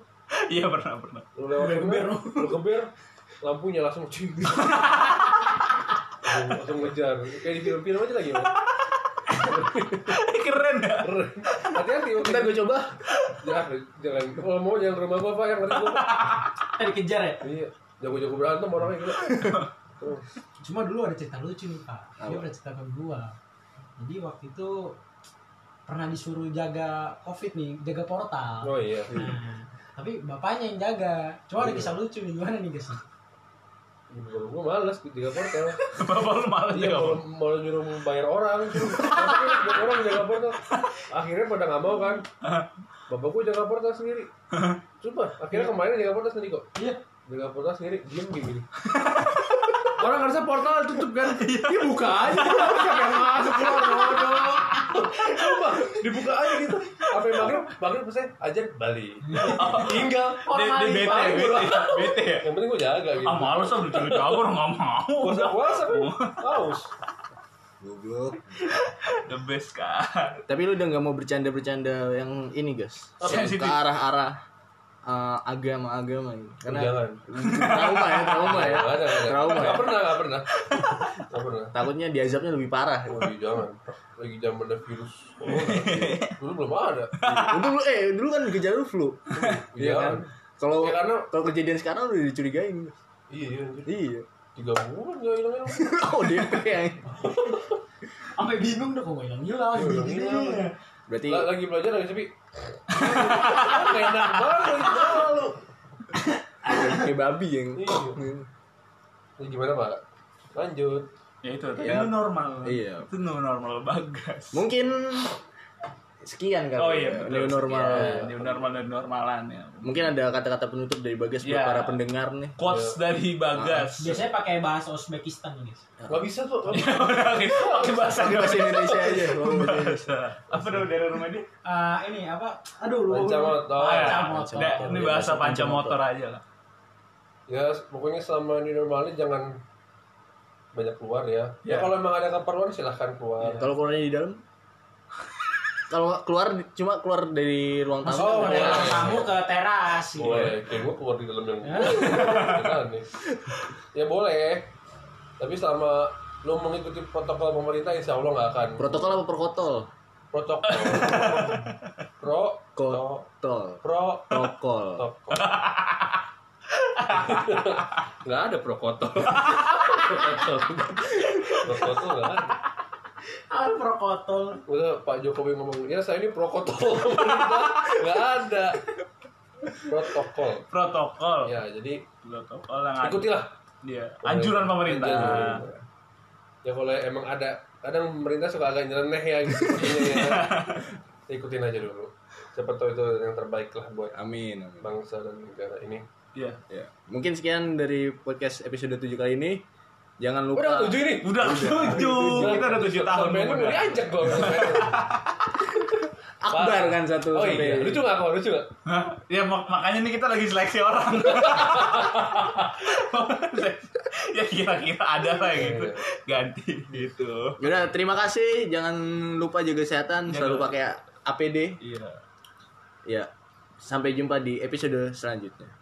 iya pernah pernah lu lewat keber lu keber lampunya langsung cing Langsung- langsung ngejar kayak di film-film aja lagi Bang. (laughs) keren ya Keren. hati-hati Bang. ntar gue coba jangan jangan kalau mau jangan rumah gua pak yang nanti gua Kita dikejar ya. iya jago-jago berantem orangnya gitu Cuma dulu ada cerita lucu nih pak. Dia pernah cerita ke gua. Jadi waktu itu pernah disuruh jaga covid nih, jaga portal. oh iya Nah, (laughs) tapi bapaknya yang jaga. Cuma ada kisah lucu nih gimana nih guys? Gua- gua males di tiga portal bapak lu malas ya Iya, kalau mau nyuruh bayar orang, suruh buat orang jaga portal. Akhirnya pada nggak mau kan. Bapakku jaga portal sendiri. Coba, akhirnya kemarin jaga portal sendiri kok. Iya. Jaga portal sendiri, diem gini. Orang harusnya portal tutup kan? Dia buka aja. Siapa yang masuk keluar bodoh. Coba dibuka aja gitu. Apa yang maghrib? Maghrib pesan aja balik. Dia- dia Tinggal. Orang bete balik, bete bro. bete ya Yang penting gue jaga gitu. ah malas ah udah cerita aku nggak mau Puasa puasa kan? Haus. goblok (laughs) the best kan tapi lu udah nggak mau bercanda-bercanda yang ini guys ke Sensitif. arah-arah eh, agama-agama gitu. Karena Jangan. trauma ya, trauma ya. Nggak ada, nggak ada. Trauma ya. Nggak pernah, nggak pernah. Nggak pernah. Takutnya diazabnya lebih parah. Waduh, jangan. Lagi zamannya virus. corona. Dulu belum ada. Untung lu eh dulu kan gejala lu flu. Iya kan? Kalau Ya, karena- kalau kejadian sekarang udah dicurigain. Iya, iya. anjir. Iya. (laughs) Tiga bulan nggak hilang-hilang. Oh, dia kayak. Sampai bingung deh kok gue hilang hilang. Hilang, Iya. hilang. Berarti La- Lagi belajar lagi sepi. Enak banget lu. kayak babi yang. Iya. Ini gimana Pak? Lanjut. Ya itu, tadi Iya. itu normal. Iya. Itu new normal bagas. Mungkin sekian kali. Oh iya, ya, betul. new normal. Iya, new normal dan normalan ya. Mungkin ada kata-kata penutup dari Bagas buat Iya. para pendengar nih. Quotes dari Bagas. Biasanya pakai bahasa Uzbekistan guys. Gak bisa tuh. Oke, (laughs) pakai bahasa Pakai bahasa Indonesia (laughs) aja. Bang. Bahasa. Apa dong dari rumah dia? Eh, ini apa? Aduh lu. Pancamotor. Ah, ya. motor. Nah, Ini bahasa panca motor aja lah. Ya, pokoknya selama ini normalnya jangan banyak keluar ya. Ya, Ya. kalau emang ada keperluan silahkan keluar. Kalau keluarnya di dalam? Kalau keluar cuma keluar dari ruang tamu. Oh, boleh. Dari ruang tamu ke teras. gitu. Boleh, kayak gue keluar di dalam yang Beneran nih. Ya boleh. Tapi selama lo mengikuti protokol pemerintah insya Allah nggak akan Protokol apa perkotol? protokol pro Ko- to Tol. pro Protokol. protokol Nggak ada prokotol. protokol tuh nggak ada. Ah, lu prokotol. Udah Pak Jokowi ngomong, ya saya ini protokol pemerintah nggak ada protokol. Protokol. Ya jadi Protokol yang ada. ikutilah Dia. Anjuran Anjuran pemerintah. pemerintah. Ya kalau emang ada kadang pemerintah suka agak nyeleneh ya gitu. sepertinya ya. (laughs) Ikutin aja dulu. Siapa tahu itu yang terbaik lah buat Amin. amin. bangsa dan negara ini. Iya. Ya. Mungkin sekian dari podcast episode 7 kali ini. Jangan lupa Udah tujuh ini. Udah (laughs) tujuh. Kita udah tujuh tahun. Sampai lu udah. diajak (laughs) gua. Akbar kan satu Oh sampai. iya, lucu gak kok? Lucu gak? Hah? Ya mak- makanya nih kita lagi seleksi orang. ya kira-kira ada lah yang gitu. Ganti gitu. Yaudah, terima kasih. Jangan lupa jaga kesehatan, selalu Jaga. pakai APD. Iya. Ya. Sampai jumpa di episode selanjutnya.